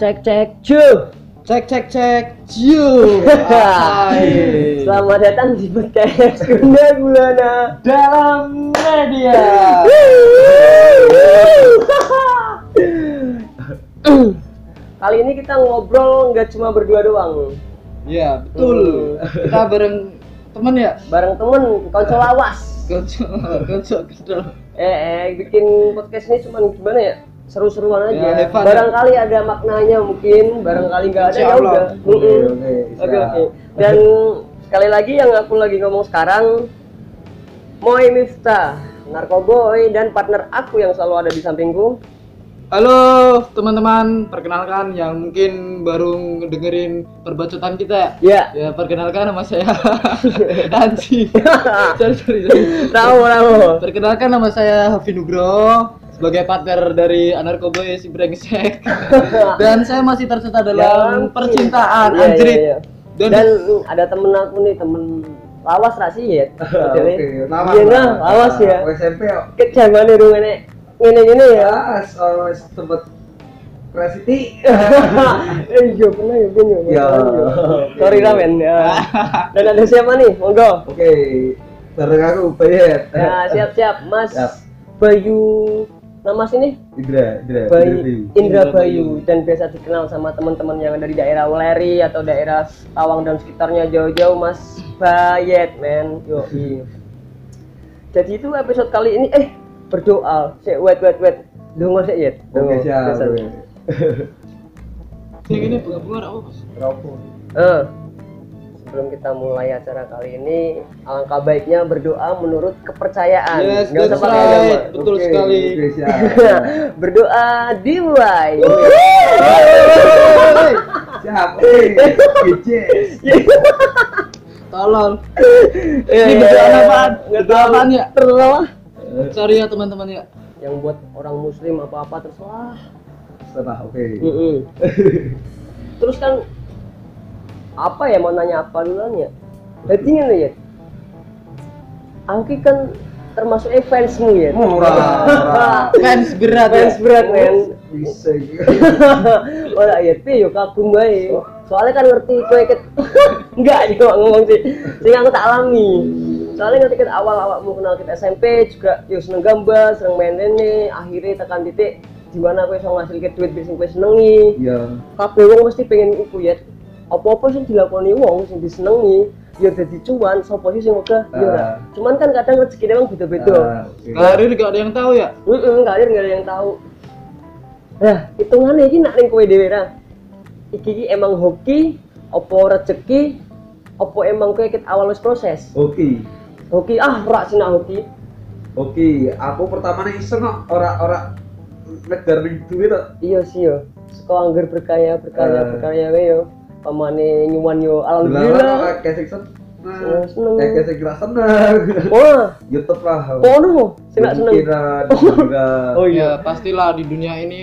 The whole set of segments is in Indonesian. Cek cek cu. Cek cek cek. Jiu. Hai. Selamat datang di podcast Gunda Gulana. Dalam media. Kali ini kita ngobrol nggak cuma berdua doang, Ya, betul. Kita bareng temen ya. bareng temen konco lawas. Kocok, kocok, kocok. Eh, eh, bikin podcast ini cuma gimana ya? Seru-seruan Ya, aja. have fun. barangkali ada maknanya mungkin, barangkali nggak ada ya Insya Allah. udah. Oke, Mm-mm. oke, Oke siap. oke. Dan sekali lagi yang aku lagi ngomong sekarang, Moy Miftah, Narkoboy dan partner aku yang selalu ada di sampingku. Halo teman-teman, perkenalkan yang mungkin baru dengerin perbacotan kita. Ya. Ya, perkenalkan nama saya Anji. sorry, sorry, sorry. Tahu tahu. Perkenalkan nama saya Hafi Nugroho sebagai partner dari Anarkoboy si Brengsek. Dan saya masih tercetak dalam Dalam Ya, percintaan Iya, iya, anjrit. iya. Dan, Dan mm, ada temen aku nih temen lawas rasi ya. Ah, Jadi, oke, lama, Iya nah, lama. lawas ya. Aku SMP ya. Kecewa nih dong ini. Ini ini ya. Pas always tempat Prasiti. Eh iya pernah ya Bin, Ya. Sorry ramen ya. Dan ada siapa nih? Monggo. Oke, bareng aku Bayet. Nah, siap-siap, Mas. Eh, Siap. Bayu nama sini Indra, Indra. Bayu Indra Indra Bayu dan biasa dikenal sama teman-teman yang dari daerah Weleri atau daerah Tawang dan sekitarnya jauh-jauh Mas Bayet men yo jadi itu episode kali ini eh berdoa sik wait wait wait dongo sik yet Oke, Dongo. siap. Biasa. oke. yang ini bunga-bunga oh, apa, Mas? Rapuh. Eh, sebelum kita mulai acara kali ini alangkah baiknya berdoa menurut kepercayaan Yes, Nggak usah that's pakai right. agama. Nah, Betul Oke, sekali. Oke, siap. berdoa dimulai Siap. Oke. Bitches. Tolong. Iya, Ini iya, berdoa iya. apaan? Nggak Berdoa tahu. apaan ya? Terserah. Sorry ya teman-teman ya. Yang buat orang muslim apa-apa terserah. Setelah, oke. Mm-mm. Terus kan apa ya mau nanya apa duluan ya? Jadi ini ya. Angki kan termasuk eh, fansmu ya. Murah. murah. Fans berat ya. Fans berat men. Bisa. Ora ya pi yo kagum bae. Soalnya kan ngerti kowe ket enggak yo ngomong sih. Sing aku tak alami. Soalnya ngerti ket awal awakmu kenal kita SMP juga yo seneng gambar, seneng main rene, akhirnya tekan titik di mana kowe iso ngasilke duit sing kowe senengi. Iya. Kabeh wong mesti pengen iku ya. Apa-apa sing dilakoni wong sing disenengi ya dadi cuan sapa sih sing wegah ya ora. Ah. Cuman kan kadang rezekine emang beda-beda. Ah, oke. Karir gak ada yang tahu ya. Heeh, karir nggak ada yang tahu. Nah, hitungannya ini nak ning kowe dhewe ra. Iki iki emang hoki, opo rezeki, opo emang kowe ket awal wis proses. Oke. Hoki ah rak sih nak hoki. Oke, aku pertama nih iseng kok ora-ora negar ning duit kok. Iya sih yo. Seko angger berkaya, berkaya, Eh. berkaya wae yo. Pamane nyuwan yo Dilarang alhamdulillah. kok kayak sing Oh, seneng. seneng. Kayak kayak sing ra seneng. Wah, YouTube lah. kono sing nak Oh, seneng. Pikiran, pikiran. Oh iya. Ya pastilah di dunia ini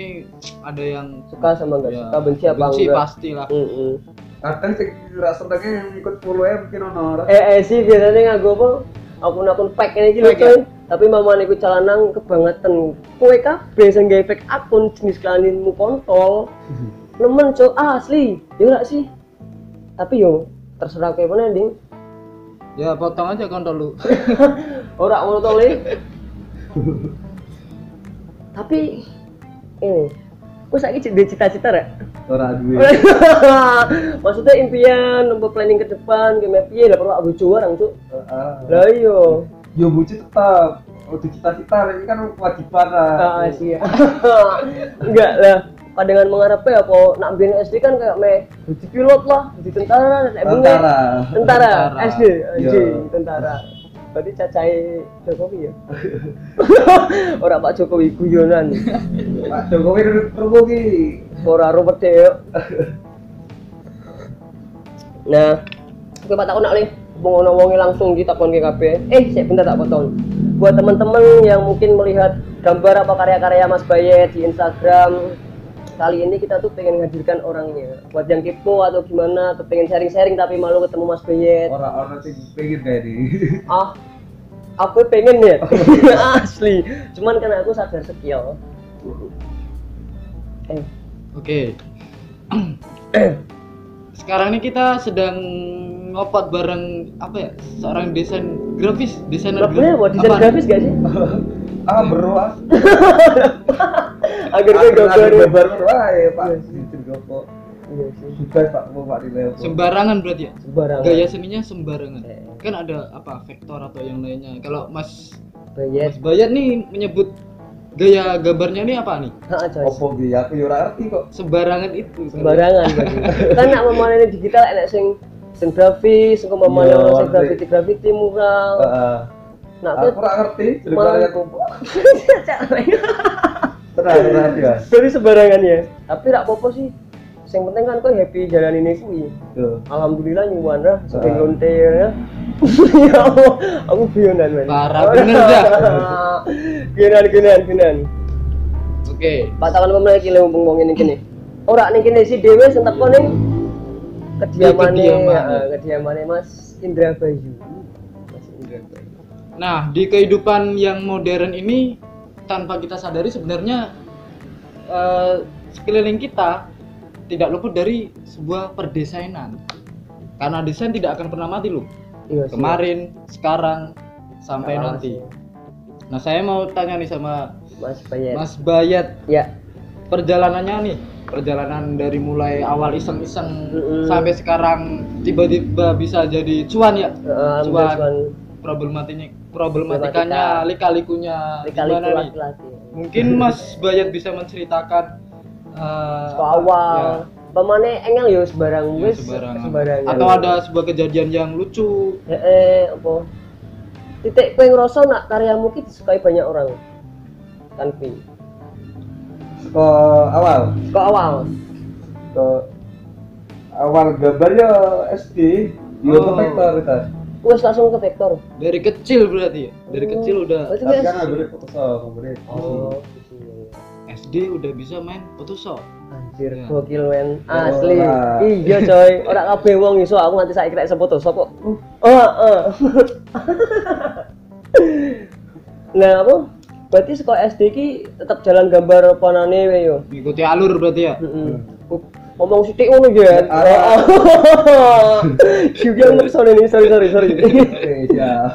ada yang Suka sama enggak ya, suka benci apa benci enggak? pastilah. Heeh. Kadang sing ra senenge yang ikut follow mungkin ono ora. Eh, eh sih biasanya nggak gue apa? Akun-akun fake ini gitu Fake ya? coy. Tapi mama niku celanang kebangetan. Kue kabeh sing gawe fake akun jenis kelaminmu kontol. Nemen cok ah, asli. Ya ora sih. Tapi yo terserah kowe mana ding. Ya potong aja kontol lu. Ora ngono to le. Tapi ini Kok saiki cek duwe cita-cita rek? Ora duwe. Iya. Eh. Maksudnya impian, nunggu planning ke depan, game piye lah perlu aku juara, Cuk. Heeh. Lah iya. Yo buci tetep. Udah cita-cita ini kan kewajiban Ah, lah. sih. Enggak lah. Padangan mengharapnya apa? Nak biar SD kan kayak me jadi pilot lah, jadi tentara, nek bunga. Tentara. Tentara, Tentara. SD, SD, Iya. tentara. Berarti cacai Jokowi ya. Orang Pak Jokowi guyonan. Pak Jokowi duduk terus ki. Ora Robert ya. Nah, gue tak takon nak le. Wong ono wonge langsung ditakon ke KB. Eh, sik bentar tak potong. Buat teman-teman yang mungkin melihat gambar apa karya-karya Mas Baye di Instagram, kali ini kita tuh pengen menghadirkan orangnya. Buat yang kepo atau gimana, atau pengen sharing-sharing tapi malu ketemu Mas Baye. Ora ono sing pengen kayak ini. Ah, aku pengen ya. Asli. kan Cuman karena aku sadar skill. Eh, Oke. sekarang ini kita sedang ngopot bareng apa ya seorang desain grafis desainer Lah, punya apa? Desain apa? grafis gak sih? ah bro ah Agar gue gambar. gambar bro ah ya pak Sidir gopo Iya sih. Subas pak mau pak Rile sembarangan berarti ya Sembarangan. Iya, gaya seninya sembarangan Eh. kan ada apa vektor atau yang lainnya kalau mas Bayet. mas Bayat nih menyebut gaya gambarnya nih apa nih Heeh, coy. opo gitu ya aku ya ora ngerti kok sembarangan itu Sembarangan berarti. Kita nak memanen digital enak sing sing grafis, sing memanen Iya, sing ngerti. grafiti grafiti mural. Heeh. Nak aku ora ngerti jadi Malah- kalian aku tuh tenang tenang ya dari sembarangan ya. Tapi rak popo sih. Yang penting kan kau happy jalan ini kuwi. tuh Alhamdulillah nyuwun lah, sing Ah. lonte ya. Ya Allah, aku biyonan men. Parah, bener dah. Biyonan, biyonan, biyonan. oke Patakan pemain lagi lewat ngomong ini kini. Ora nih kini si Dewi sentak kau nih. Kediamannya, Di kediaman. eh, kediamannya Mas Indra Bayu. Mas Indra Bayu. Nah, di kehidupan yang modern ini tanpa kita sadari sebenarnya eh, sekeliling kita tidak luput dari sebuah perdesainan. Karena desain tidak akan pernah mati loh. Iya sih. Kemarin, sekarang, sampai Sekarang nanti. sih. Nah, saya mau tanya nih sama Mas Bayet. Mas Bayat, Ya, perjalanannya nih, perjalanan dari mulai awal iseng-iseng Mm-mm. sampai sekarang tiba-tiba bisa jadi cuan ya. eh, Cuan. cuan problematiknya problematikanya lika-likunya kali gimana nih? Eh, laki-laki. mungkin Mas Bayat bisa menceritakan eh, Ke awal. Pemane engel yo sembarang ya, ya, wis sembarangan. sembarangan. atau ada sebuah kejadian yang lucu Eh, eh, apa? Titik kowe ngerasa nak karyamu ki disukai banyak orang. Kan kuwi. ke awal Kok awal? ke awal gambar ya SD ya Oh. ke vektor kita Wes langsung ke vektor. dari kecil berarti ya dari Mm. kecil udah Berarti tapi wes. kan nggak boleh Photoshop nggak boleh Oh. SD udah bisa main Photoshop Anjir, Ya. gokil men. Ya, Asli. ora. Oh, Iya, coy. Ora kabeh wong iso aku nganti saiki rek sepoto sapa. Oh, heeh. Nah, apa? Berarti sekolah SD ki tetap jalan gambar panane we yo. mengikuti alur berarti ya Heeh. Ngomong sithik ngono ya. Ya, arah. Juga ngerso ini, sorry sorry sorry. oke siap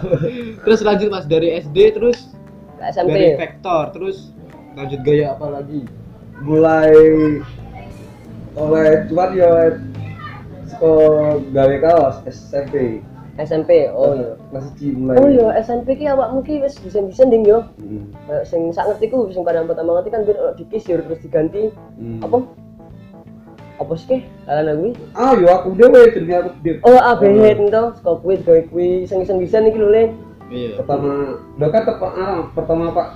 terus lanjut Mas dari SD terus Ke dari SMP. vektor terus lanjut gaya apa lagi mulai oleh cuman ya oleh ke gawe kaos SMP SMP. Oh iya. kelas C mulai Oh iya, SMP ki awakmu ki wis desain-desain ding yo. Hmm. Kayak sing sak ngerti ku sing pada pertama ngerti kan ben ono dikisir terus diganti Hmm. apa? Apa sih ke? Kalian aku ah yo aku dewe jenenge aku dewe Oh, abehet ento, saka kuwi gawe kuwi sing iseng desain iki lho le. iya pertama lo kan tepat ah, pertama pak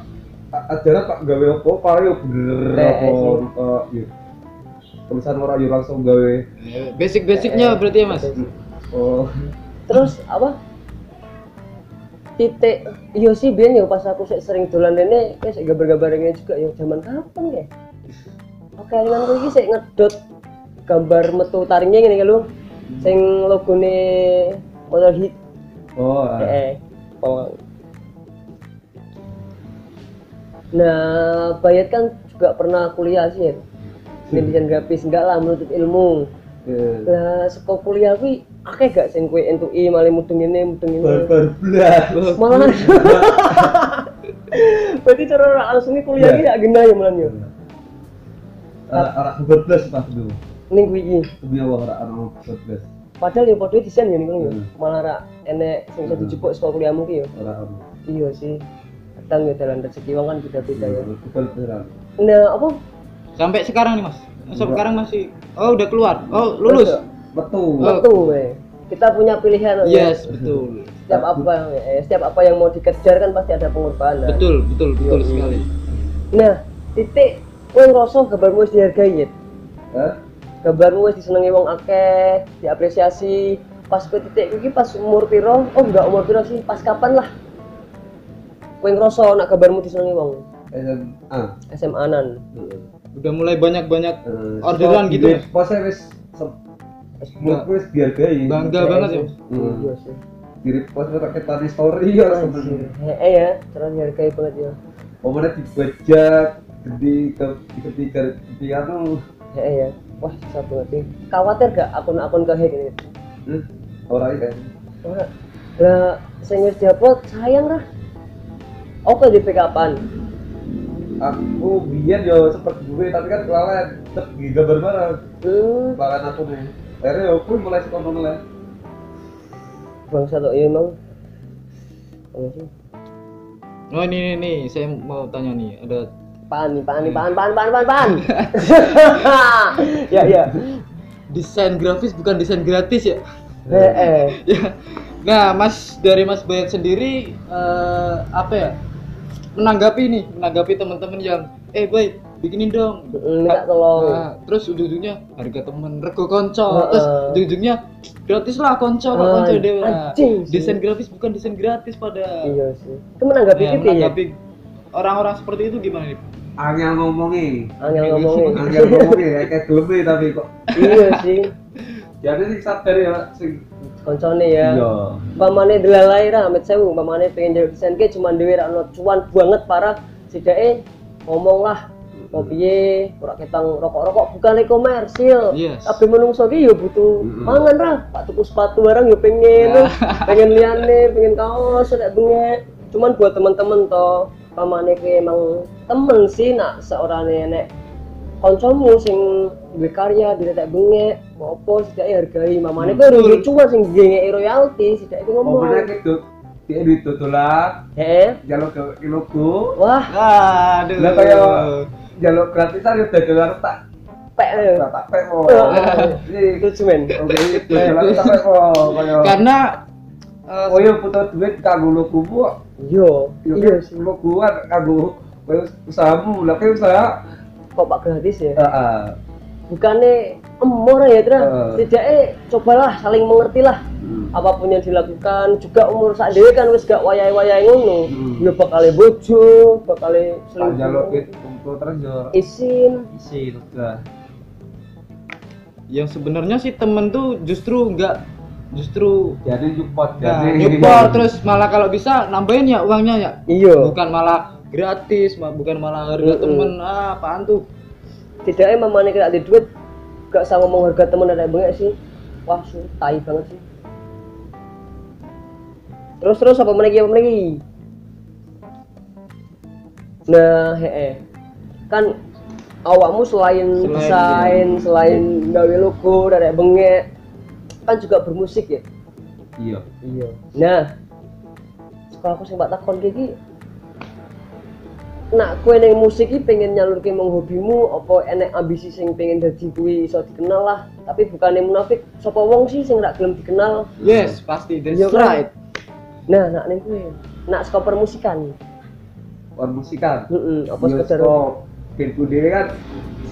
a- ajaran pak gawe apa pak yo bener Eh, apa eh, eh, yo tulisan orang yo langsung gawe basic basicnya Iya, berarti ya Mas oh Terus apa? titik iya sih biar yo pas aku sik sering dolan rene kayak sik gambar-gambar ini juga yo zaman kapan ya oke kalian aku iki sik ngedot gambar metu taringnya ngene iki lho sing logone motor hit oh ah. Eh, oh. Nah, Bayat kan juga pernah kuliah sih. ya. Ini desain grafis enggak lah menuntut ilmu. Eh, Lah seko kuliah kuwi akeh gak sing kowe entui E, malah mudeng ini mudeng ini. barbar belas Malah Berarti cara ora langsung kuliah iki gak genah ya malah yo. orang barbar belas pas dulu ya, Ning kuwi iki. punya orang orang barbar belas Padahal ya padha desain ya ngono yo. Hmm. Malah ra enek sing iso dijupuk saka kuliahmu ki yo. orang orang Iya sih. Kadang ya dalan rezeki wong kan beda-beda ya. barbar belas Nah, apa sampai sekarang nih Mas Enggak. sekarang masih oh udah keluar oh lulus Enggak. metu Oh. waktu weh. kita punya pilihan weh. yes betul setiap apa eh, setiap apa yang mau dikejar kan pasti ada pengorbanan betul betul betul Iya. sekali nah titik kowe ngerasa gambarmu wis dihargai ya Eh, gambarmu wis disenengi wong akeh diapresiasi pas kowe titik iki pas umur piro oh enggak umur piro sih pas kapan lah kowe ngerasa nak gambarmu disenengi wong Eh, SMA SMA-nan Heeh. udah mulai banyak banyak iya. Eh, Orderan gitu, Mas? posnya wis se- menurutku wis dihargai bangga Eh, banget ya Mas. Hmm. iya sih di repost atau kita di story ya sebenarnya Anjir. Heeh ya terus dihargai banget ya pemainnya dibajak gede ke gede ke gede anu Heeh ya wah susah banget sih khawatir gak akun-akun kehack ini Hmm, ora iki. Wah, lah sing wis diupload sayang lah oke di kapan Aku biyen yo sempet duwe tapi kan kelalen tetep di gambar bareng. hmm Kelalen aku nih. Akhirnya yo aku mulai sekolah mulai. bangsa tuh ya emang Apa sih? Oh ini, ini, ini, saya mau tanya nih, ada Pan, nih, pan, nih, pan, pan, pan, pan, pan. ya, ya. desain grafis bukan desain gratis ya? Eh, eh. Ya. nah, Mas dari Mas Bayat sendiri eh, apa ya? Menanggapi nih, menanggapi teman-teman yang eh baik bikinin dong. Mm, minta tolong. Nah, terus ujung-ujungnya harga temen rego konco. Heeh. Terus ujung-ujungnya gratis lah konco, kok konco Ay, dewe. Nah, anjing sih. Desain grafis bukan desain gratis pada. Iya sih. Itu menanggapi Nah, gitu ya. menanggapi orang-orang seperti itu gimana nih? Angel ngomongi. Angel ngomongnya. Angel ngomongi ya kayak geleme tapi kok. iya sih. Jadi sih sadar ya sing Koncone ya. Iya. Pamane delalai ra amit sewu, pamane pengen jadi desain ke cuman dhewe ra ono cuan banget parah. Sidake ngomong lah mau piye, ora ketang rokok-rokok bukan komersil. Yes. Tapi menungso ki yo butuh Mm-mm. mangan ra, Pak tuku sepatu barang yo pengen, Nah. pengen liane, pengen kaos, ada bengek. Cuman buat temen-temen toh, pamane ki emang temen sih nak seorang nenek koncomu sing duwe karya diretek bengek mau apa sidake hargai mamane kuwi Betul. rugi cuan sing gengeki royalti sidake ngomong Momennya kayak tuh. Dia duit dodolan, heeh jalur ke logo, wah Nah, Aduh. Lah kayak- jalur gratisan ya dodolan tak pek eh. tak tak pek kok. Heeh. Jadi, lucu men Oke, dodolan tak pek kok. Kayak Kan- Karena eh, Oh iya butuh duit kanggo logomu kok. yo iya Iya sih logo kan kanggo kaya usahamu. Lah kayak usaha ah. kok pak gratis ya heeh. bukannya emor ya Tra Heeh. tidaknya cobalah saling mengertilah apapun yang dilakukan juga umur saat dewe kan wis gak wayai-wayai ngono Hmm. ya bakale bojo bakale Tak jalur selingkuh duit kumpul terus yo isin isi lega. yang sebenarnya sih temen tuh justru nggak justru Jadi nyupot nah, jadi. nyupport, terus malah kalau bisa nambahin ya uangnya ya iya bukan malah gratis ma- bukan malah harga Mm-mm. temen ah apaan tuh tidaknya mamane kena di duit gak usah ngomong harga temen ada banyak sih wah su tai banget sih terus terus apa menegi apa menegi nah hee kan awakmu selain, Selain- desain selain gawe logo dari bengek kan juga bermusik ya Iya. iya nah sekolah aku sing tak takon kayak gini nak kue neng musik iki pengen nyalurke mung hobimu apa enek ambisi sing pengen dadi kuwi iso dikenal lah tapi bukannya munafik sapa wong sih sing rak gelem dikenal yes pasti that's Iya kan? right nah nak neng kue nak saka permusikan Kon musikan. heeh apa Iya, sekedar Bioskop. Filmku dhewe kan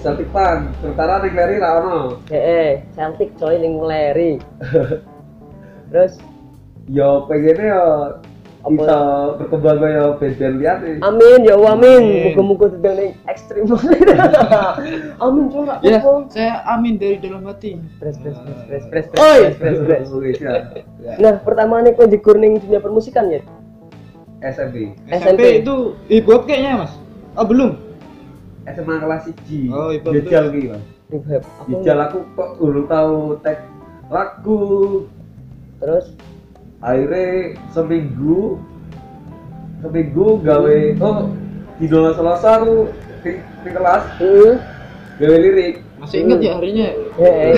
Celtic Pan, sementara ning Leri ra ono. heeh Celtic coy ning leri terus Yo pengennya yo Apa? bisa berkembang kaya band-band liyane. amin ya Allah Amin. amin muga-muga dadi ning ekstrim amin coy rak yes apa saya amin dari dalam hati Pres, pres, pres, Ah. pres, pres, pres, Oi! pres, pres, pres. Oke, siap. Ya. Nah, pertama nih kau jegur ning dunia permusikan ya? SMP. SMP itu hip hop kayaknya mas oh belum SMA kelas 1. Oh, iya, betul. Jajal ki, Mas. Hip hop. Aku Jajal aku kok urung tahu tek lagu. terus Akhirnya seminggu seminggu gawe oh di dolar Selasa aku di, di kelas heeh. gawe lirik. masih ingat ya harinya Ya, ya.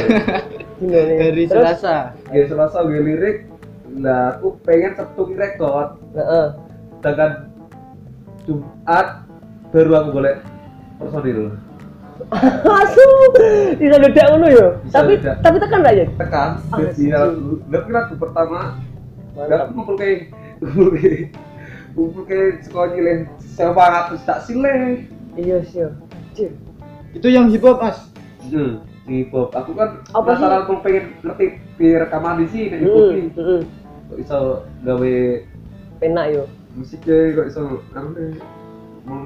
Gimana? ya? dari Terus? Selasa Gawe Selasa gawe lirik. Lah aku pengen Sabtu ki rekod. Heeh. Sedangkan Jumat baru aku boleh personil Asu. Bisa dedak ngono ya. Bisa Tapi dedak. tapi tekan ra ya? tekan Ah, jadi setuju. lagu lagu lagu pertama Dan Mantap. ngumpul kayak ngumpul kayak ngumpul kayak sekolah nyileh sewa ratus tak sileh. Iya sih. ya. Cih. itu yang hip hop mas Hmm, di pop. Aku kan Apa penasaran aku pengen ngerti di rekaman di sini di pop Heeh. ini. heeh. Kok bisa gawe Mm, Penak yo. musiknya, kok bisa karena mau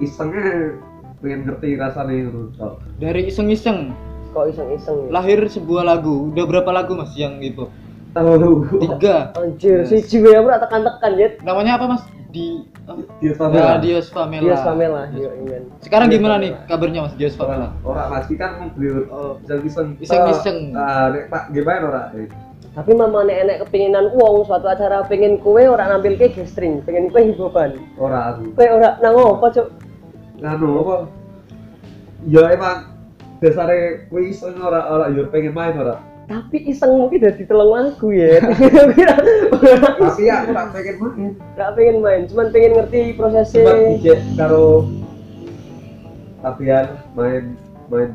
isengnya pengen ngerti rasanya itu. Kok. dari iseng-iseng Kok iseng-iseng ya? lahir sebuah lagu udah berapa lagu mas yang hip hop Tahu. tiga Anjir, siji ya ora tekan-tekan ya. namanya apa mas di apa? Dios Pamela. Dios Pamela. Dios Pamela, iya. yo ingin. Sekarang Dios gimana nih Pamela. kabarnya Mas Dios Pamela? Orang pasti kan membeli bisa iseng. Iseng-iseng. Ah, nek Pak gimana ora? Tapi mama nenek kepinginan uang suatu acara pengen kue orang nampil ke gestring, pengen kue hiburan. Ora aku. Kue orang nang apa cok? Nganu apa? Ya emang dasare kuwi iseng ora ora yo pengen main ora. Tapi iseng mungkin udah ditelung lagu ya. Kira-kira Tapi aku tak pengen main. Gak pengen main, cuman pengen ngerti Cuma prosesnya. dijek karo tapian main main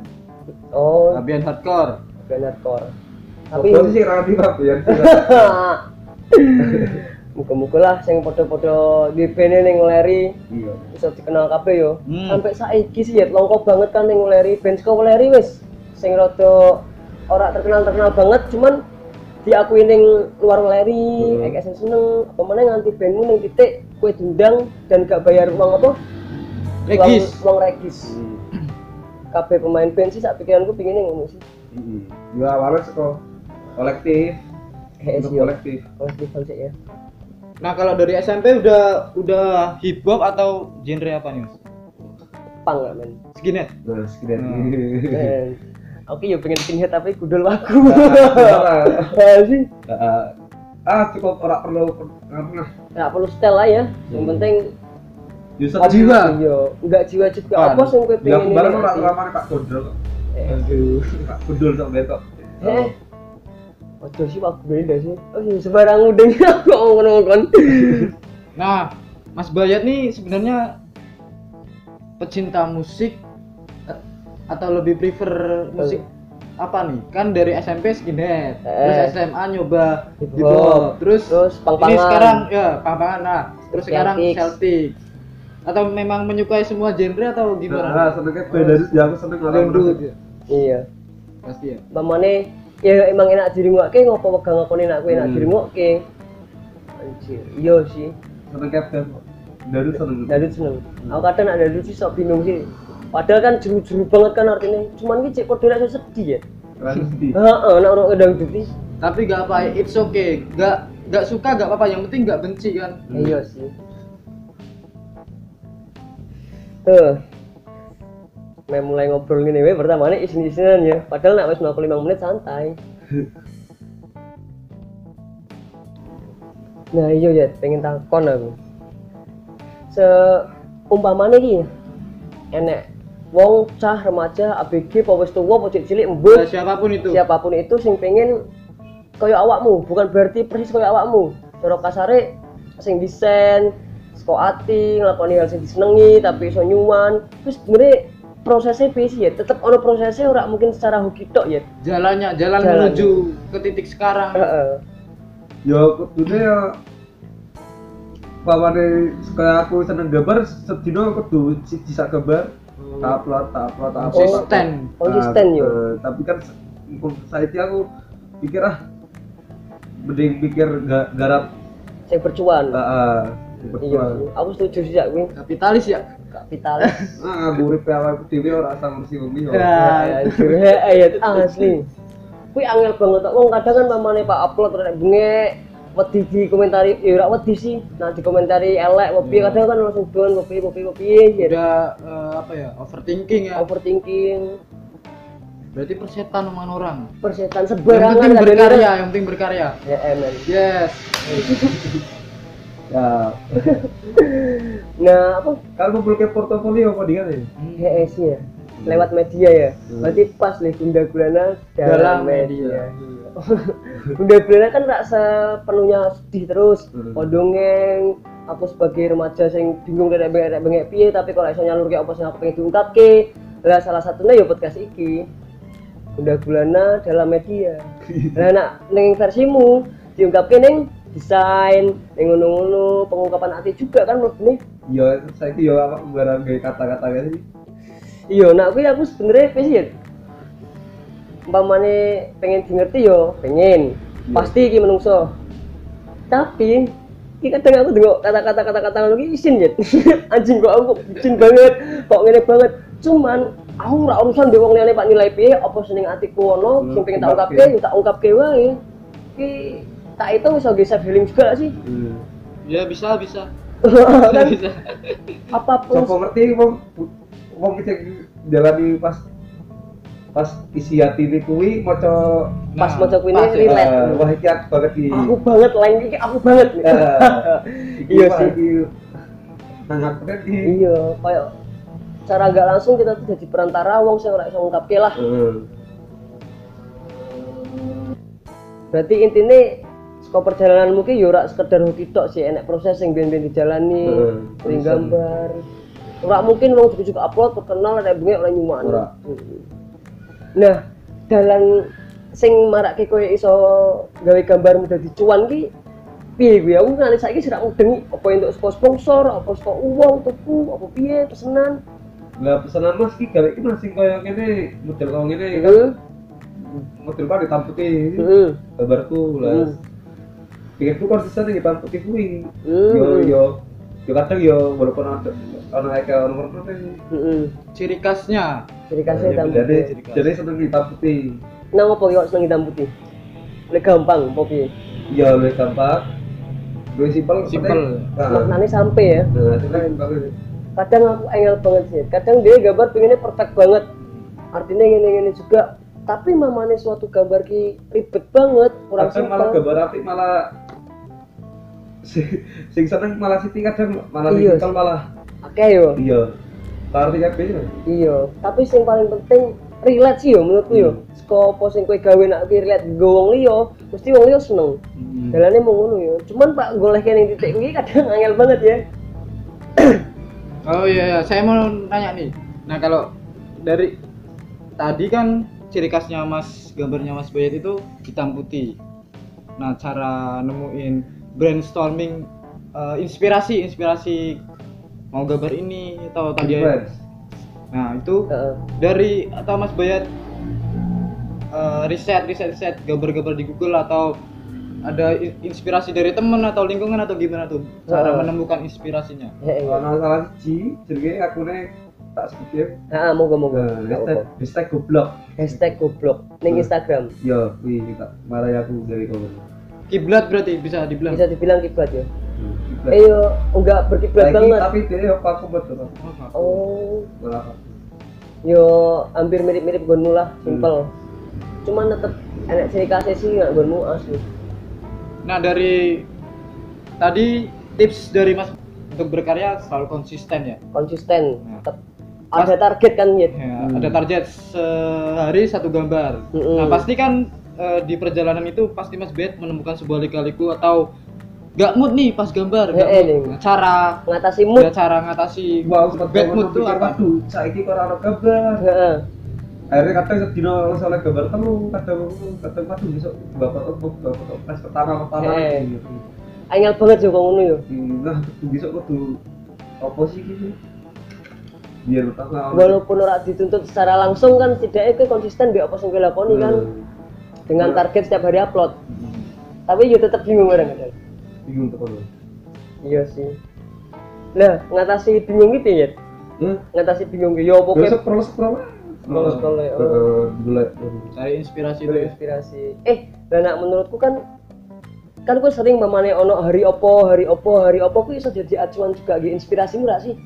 Oh, Tabian hardcore. benar core. Tapi tapi sih rapi tapian muka-muka lah yang podo-podo di band ning Leri iya bisa dikenal kabeh yo. Hmm. Sampai saiki sih ya longko banget kan ning Leri band saka Leri wis sing rada ora terkenal-terkenal banget cuman diakui ning luar Leri, Hmm. hmm. ekesen seneng, apa meneh nganti bandmu ning titik kue dundang dan gak bayar uang apa? Regis. Uang, uang regis. kabeh pemain band sih sak pikiranku pinginnya ngono sih Mm-mm. ya awalnya seko kolektif KS Eh, untuk yo kolektif kolektif konsep ya Nah, kalau dari SMP udah udah hip hop atau genre apa nih, Mas? pang lah men Skinhead. nah sekian Hmm. Eh, aku ya pengen pinhead tapi gudul aku Nah, Nah, sih eh, ah cukup ora perlu pernah Nah, nggak perlu style lah ya yang Hmm. penting user yo nggak jiwa juga Pan. apa sih yang gue ya pengen kemarin ora ngerti? ramane Pak Gondol kok. Eh, Aduh. Pak Gondol sak betok Nah, eh Ojo sih aku beda sih. Oh, iya, sembarang udeng aku ngomong ngomong. Nah, Mas Bayat nih sebenarnya pecinta musik a- atau lebih prefer musik apa nih? Kan dari SMP Eh. skinhead, terus SMA nyoba Hip hip hop, hop, terus, terus ini pang-pangan. sekarang ya pang-pangan nah, terus Terus sekarang Celtics. Celtic. Atau memang menyukai semua genre atau nah gimana? senengnya Oh. beda ya aku seneng orang Dangdut menang. ya. Iya. Pasti ya. Mamane ya emang enak dirimu ngopo ngopo pegang aku enak aku enak Hmm. dirimu oke. Anjir. Iya sih. senengnya beda Dangdut seneng Dadut seneng. Aku kadang nak dadut sih sok bingung sih. Padahal kan jeru-jeru banget kan artinya. Cuman ki cek kode rasa sedih ya. keren sih Heeh, nak orang kedang duti. Tapi gak apa, it's okay. Gak gak suka gak apa-apa, yang penting gak benci kan. Hmm. Iya sih. Tuh. Nek mulai ngobrol gini, weh pertama nih isin-isinan ya. Padahal nak wis 95 menit santai. Nah iya ya, pengen takon aku. Seumpamane iki enek wong cah remaja ABG apa wis tuwa apa cilik cilik Nah, embus siapapun itu. siapapun itu sing pengen kaya awakmu bukan berarti persis kaya awakmu cara kasare sing desain seko ati nglakoni hal sing disenengi tapi iso nyuman terus sebenarnya prosesnya piye ya tetep ono prosesnya ora mungkin secara hoki tok ya Jalannya, jalan Jalannya. menuju ke titik sekarang. heeh ya kudune ya pawane kaya aku seneng gambar sedina kudu siji sak gambar tak upload tak upload tak upload Konsisten. tak upload. Hmm. Konsisten, Nah, yo. eh, tapi kan se- mumpung saiki aku pikir ah mending pikir ga- garap ah, sing bercuan heeh iya aku setuju sih ya kuwi Kapitalis ya. kapitalis Nah, nganggur awake dhewe ora asal ngurusi wong liya. Ya. Ya, anjir. iya, Heeh, ya, asli kuwi angel banget tok wong kadang kan mamane Pak upload ora bengek wedi di komentari ya ora wedi sih nah di komentari elek kopi kadang kan langsung doan kopi kopi kopi ya Hmm. Udah eh, apa ya? Overthinking Oh. ya. overthinking Berarti persetan omongan orang. persetan Yang sebarangan penting kadang-kadang. berkarya, yang penting berkarya. ya emen Yes. Ya, nah apa kan ngumpulke portofolio apa dia nih? Hmm. GS ya lewat media ya berarti pas nih Bunda Gulana Dalam dalam media. media Bunda Gulana kan tak sepenuhnya sedih terus Hmm. podongeng aku sebagai remaja sing bingung dan bengek bengek piye tapi kalau iso nyalur kayak apa sing aku pengen diungkapke lah salah satunya ya podcast iki Bunda Gulana dalam media nah nak neng versimu diungkapke neng desain neng ngono-ngono pengungkapan hati juga kan menurut nih Ya, saiki ya awak barang gawe kata-kata kali. iya nak kuwi aku sebenarnya wis ya umpamane pengen dimengerti yo pengen Iya. pasti iki menungso tapi iki kadang aku dengo kata-kata kata-kata ngono iki isin ya anjing kok aku kok bucin banget kok ngene banget cuman aku ora urusan dhewe wong liyane pak nilai piye apa seneng atiku ono Hmm, sing pengen tak ungkapke. ungkapke yo tak ungkapke wae iki tak itu iso ge self healing juga gak sih Hmm. Ya bisa bisa. kan bisa apapun Sopo ngerti wong wong iki jalani pas pas isi hati ini kuwi maca pas Nah, maca kuwi pas, ini relate eh, wah iki aku banget iki. aku banget lain iki aku banget Eh, iki Iya wah, sih. iki Sangat keren iki. iya kayak cara nggak langsung kita tuh jadi perantara wong sing ora iso ngungkapke lah Eh, berarti intinya saka perjalananmu ki yo ora sekedar hoki tok sih enek proses sing ben-ben dijalani Heeh, sering terusan. gambar ora mungkin wong juga upload terkenal ada bunga ora nyuman Ora. nah dalan sing marake koyo iso gawe gambarmu dadi cuan ki piye gue aku nganti saiki sira mudeng apa entuk saka sponsor apa saka uang tuku apa piye pesenan Lah pesanan Mas iki gawe iki masih koyo ngene model koyo ngene kan heeh model kan hitam putih heeh gambarku Heeh. lah. Pikirku konsisten ning hitam putih kuwi. Heeh. Yo yo yo kadang yo walaupun ada ana kayak nomor putih. heeh ciri khasnya jadi kasih Ya, tamu jadi jadi seneng hitam putih. nang apa yo seneng hitam putih Lek gampang apa piye Iya, lebih gampang. Lebih simpel. Simpel. penting. Nah, maknane sampe ya nah, itu kan bagus. kadang aku engel banget sih kadang dia gambar pengennya perfect banget artinya gini gini juga tapi mamane suatu gambar ki ribet banget kurang Kadang malah simpel gambar api malah Si- sing seneng malah Siti kadang malah sing Iya. simpel malah akeh yo iya. Arti kabeh. ya. iya tapi sing paling penting relate sih yo menurutku Hmm. yo saka apa sing kowe gawe nak ki relate nggo wong liya mesti wong liya seneng Hmm. dalane mau ngono yo cuman pak goleh kene titik kuwi kadang angel banget ya oh iya, iya. saya mau nanya nih nah kalau dari tadi kan ciri khasnya mas gambarnya mas Bayat itu hitam putih nah cara nemuin brainstorming eh, inspirasi inspirasi mau gambar ini atau tadi ya. Advance. nah itu Heeh. dari atau Mas Bayat eh, riset riset riset gambar-gambar di Google atau ada i- inspirasi dari temen atau lingkungan atau gimana tuh Eh. cara menemukan inspirasinya Heeh. Kalau nggak salah siji jenenge akune tak ya. sedikit. Heeh, moga moga Nah, hashtag, hashtag goblok. hashtag goblok Hmm. ning Instagram Yo, kuwi kita marai aku dari kowe. kiblat berarti bisa dibilang bisa dibilang kiblat ya Hmm, kiblat. eh yo enggak berkiblat Lagi, banget tapi dia yo aku betul. oh Malah yo hampir mirip-mirip gonmu lah Hmm. simple cuman tetep enak ciri khasnya sih nggak gonmu asli nah dari tadi tips dari Mas untuk berkarya selalu konsisten ya, konsisten Nah. tetep ada target kan ya Ya, Hmm. ada target sehari satu gambar Mm-mm. nah pasti kan eh, di perjalanan itu pasti Mas Bayat menemukan sebuah lika-liku atau gak mood nih pas gambar gak Eh, eh, mood. nih. Nah, cara ngatasi ya mood cara ngatasi Wah, aku bad mood tuh apa? Waduh, saiki kok ora ono gambar. Heeh. akhirnya kadang sedino soalnya gambar telu kadang kadang waduh besok bapak tepuk bapak tepuk pas pertama pertama Eh. ini. angel banget juga ngono yo Hmm, nah kudu besok kudu apa sih gitu biar pertama walaupun ora dituntut secara langsung kan setidaknya kowe konsisten be apa sing kowe Eh, lakoni kan Hmm. dengan Nah. target setiap hari upload tapi yo tetep bingung kadang-kadang bingung tuh kalau iya sih nah ngatasi bingung gitu ya hmm ngatasi bingung gitu yo besok Eh, pokoknya scroll scroll Scroll, scroll, ya. cari inspirasi dulu ya berinspirasi eh lah nak menurutku kan kan gue sering mamane ono hari opo hari opo hari opo ku iso jadi acuan juga gitu inspirasi murah sih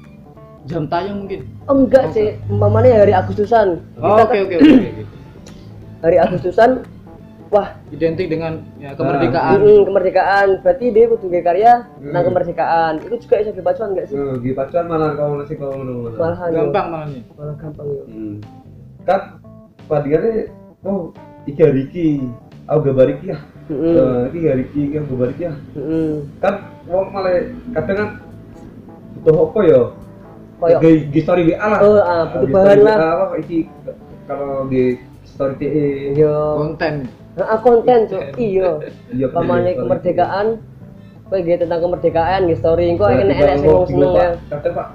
jam tayang mungkin oh, enggak sih mamane hari Agustusan kan Oh, oke oke oke oke. hari Agustusan wah identik dengan ya, kemerdekaan mm, kemerdekaan berarti dia kudu nge karya Hmm. tentang kemerdekaan itu juga iso jadi acuan enggak sih di pacuan malah kalau nasi kalau ngono malah malahan yo. Hmm. gampang malah nih malah gampang yo Hmm. kan padahal oh iki hari iki aku gambar iki ya Mm-mm. Eh, iki hari iki aku gambar iki ya Hmm. Mm-mm. kan wong malah kadang kan butuh apa ya Kayak- Di- di story WA lah Oh, ah, butuh Di bahan story lah. WA lah, iki kalau di story E, TE yo konten nah, konten tuh iyo iya pamane kemerdekaan kowe nggih tentang kemerdekaan nggih story engko Nah, enek-enek tiba-tiba sing wong tiba-tiba, seneng ya kadang pak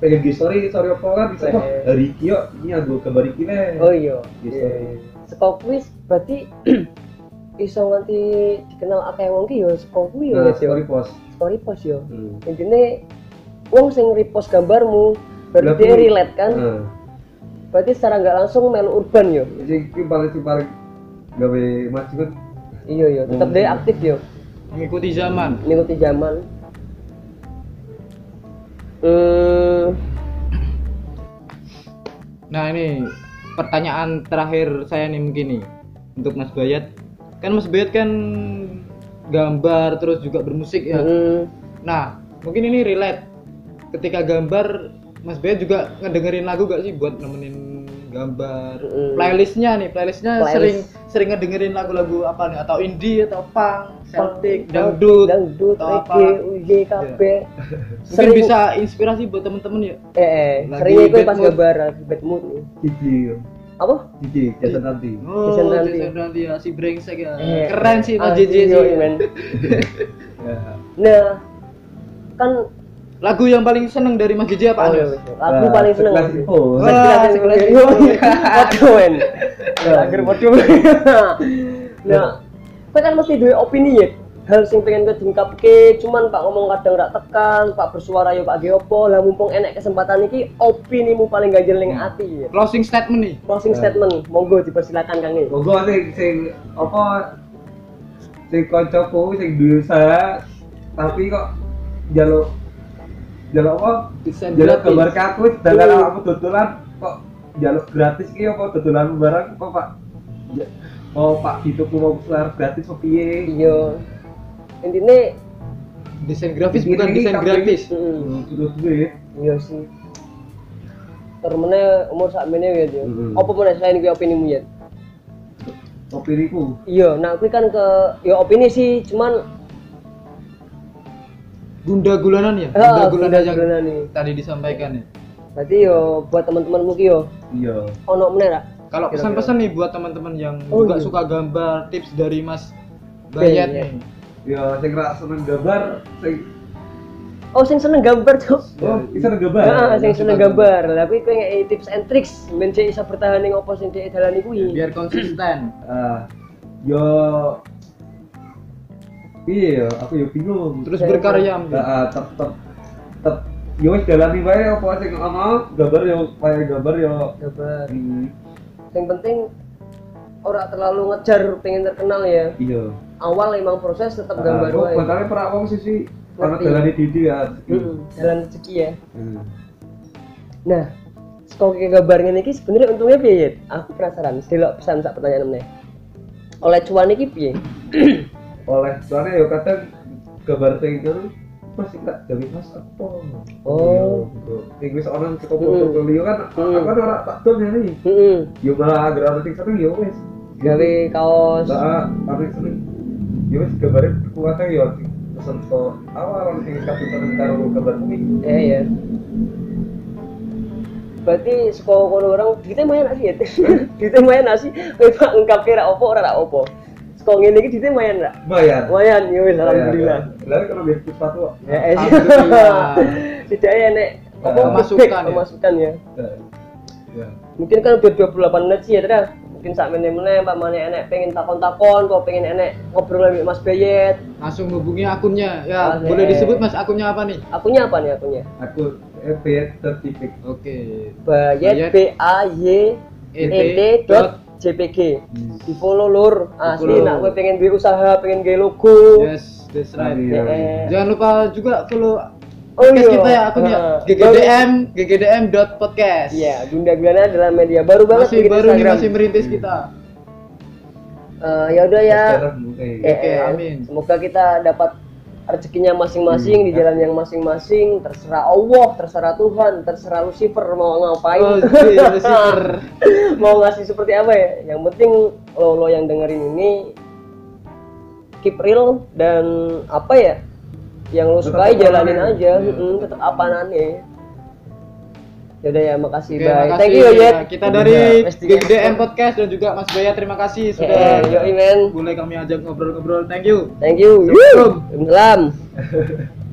pengen di story story apa kan bisa Eh. wah hari iki yo ini aku gambar iki nih Oh iya. Di story. Saka kuis berarti iso nganti dikenal akeh wong ki ya saka kuwi ya nah Mas, ya. story post Story post ya. Hmm. Intine wong sing repost gambarmu berarti dia Lah, kuwi- relate kan. Nah, Berarti secara nggak langsung melu urban ya. jadi iki paling sing paling gawe maju kan Iya ya, tetep Hmm. dia aktif ya mengikuti zaman ngikuti zaman. Hmm, Nah ini pertanyaan terakhir saya nih mungkin nih untuk Mas Bayat. Kan Mas Bayat kan gambar terus juga bermusik ya. hmm, Nah mungkin ini relate. Ketika gambar Mas Bayat juga ngedengerin lagu gak sih buat nemenin gambar Mm. playlistnya nih playlistnya Playlist. sering sering ngedengerin lagu-lagu apa nih atau indie atau punk, celtic, dangdut, dangdut, atau Ya. apa. reggae, UJ, KB. Mungkin bisa inspirasi buat temen-temen ya. eh, eh Lagi seringnya ikut bad pas mood. gambar lagi bad mood nih. Cici, Apa? Cici, jasa Iya. nanti. Oh, Jason Ranti. Jason Ranti ya, si brengsek ya. Eh, Keren sih itu ah, JJ iya, sih. men. Ya. Nah, kan Lagu yang paling seneng dari Mas JJ oh, apa? iya, Anas? iya. aku Nah, paling seneng sekelas itu. Oh, Wah, sekelas itu. sekelas itu. Waduh, men. Akhir waduh. Nah, kowe kan mesti duwe opini ya. Hal sing pengen kowe dingkapke, cuman Pak ngomong kadang rak tekan, Pak bersuara yo Pak ge opo, lah mumpung enek kesempatan iki opinimu paling ganjel ning Hmm. ati ya. Closing statement nih. Closing statement, monggo dipersilakan Kang E. Monggo sing sing apa sing kancaku sing duwe usaha tapi kok jaluk jaluk apa? Bisa gratis. Jaluk gambar ke aku sedangkan Hmm. aku dodolan kok jaluk gratis ki apa dodolan barang kok Pak Ja- mau Pak gitu mau besar gratis apa piye? Iya. Intine Desain grafis Ini- bukan ini desain tapi- gratis. mm, Terus duit. Iya sih. Termene umur sak ya dia. Mm-mm. Apa meneh selain kuwi opinimu ya? Opiniku. Iya, nah kuwi kan ke ya opini sih, cuman Gunda gulanan ya. Ah, Gunda gulanan yang gunda-gulanan nih. tadi disampaikan ya. berarti yo buat teman-temanmu ki yo Iya. ono meneh ra? Kalau Kira-kira. pesan-pesan nih buat teman-teman yang Oh, juga iya. suka gambar, tips dari Mas Bayat. Bayat nih. Ya sing ra seneng gambar sing Oh, sing seneng gambar, Cuk. oh, bisa gambar. Iya. Heeh, sing yang seneng suka gambar. Tapi kowe ngeki tips and tricks men cek iso bertahan ning opo sing cek dalani kuwi. Biar konsisten. Ah, yo iya aku yo bingung Terus Saya- berkarya. Nah, ah, tep tep tep yo ya wis dalani wae apa sing ana gambar yo wae gambar ya. yo Gambar. Hmm, Yang penting ora terlalu ngejar pengen terkenal ya. iya Ah, oh, Awal emang proses tetap gambar wae. gambar wae pra wong sisi ana Ngerti. dalani didi ya Heeh, jalan rezeki ya. Hmm. Nah, sekolah kayak gambar ngene iki sebenarnya untungnya piye? Yit? Aku penasaran. Delok pesan sak pertanyaan meneh. Oleh cuan iki piye? oleh soalnya yo kadang gambar sing itu mas sing tak gawe mas apa Oh. sing wis ana cukup Hmm. portfolio kan Hmm. aku kan ora tak dol ngene Heeh. yo malah gara-gara sing seneng yo wis Gawe kaos. Nah, tapi sering. Ya wis gambarnya kuatnya ya pesen ke awal sing kapitan karo gambar kuwi. Eh ya. Berarti sekolah kono orang duitnya main sih ya. duitnya main sih. Kowe pak ngungkap kira opo ora ra opo. Sekolah ngene iki duitnya main ra. Bayar. Mayan ya iya. wis alhamdulillah. Lalu kalau biar sepatu kok. Ya eh. Alhamdulillah. Tidaknya nek apa Pemasukan feedback, ya. pemasukan ya. Nah, Ya. mungkin kan udah 28 menit sih ya Tra. mungkin saat meneh-meneh pak mana enek pengen takon-takon kok pengen enek ngobrol sama mas Bayet Langsung hubungi akunnya. Ya, Oke. boleh disebut Mas akunnya apa nih? akunya apa nih akunya Aku FB tertipik. Oke. Bayet Bayet. B A Y E T dot JPG di follow lur asli follow. nak gue pengen duwe usaha pengen gawe logo Yes, that's right. Iya. Eh, Jangan lupa juga follow Oh, podcast iya. kita ya akunnya Heeh. ggdm ggdm.podcast. Iya, Bunda Gulana adalah media baru banget Masih bikin baru nih Instagram. Hmm. masih merintis kita. Eh, ya udah ya. Sekarang Eh, mulai. Oke, eh, amin. Hmm, Semoga kita dapat rezekinya masing-masing di jalan yang masing-masing, terserah Allah, terserah Tuhan, terserah Lucifer mau ngapain. Oh, iya, Lucifer. mau ngasih seperti apa ya? Yang penting lo lo yang dengerin ini keep real dan apa ya? Yang lo Tetap sukai apa jalanin namanya. aja, Iya, Mm, tetap apanane. Yaudah ya, makasih. Oke, bye. makasih Thank you, Iya, ya. Yet. Kita dari Mas Dias. ggdm podcast dan juga Mas Baya terima kasih Eh, sudah yoi, men. boleh kami ajak ngobrol-ngobrol. Thank you. Thank you. Assalamualaikum. Salam.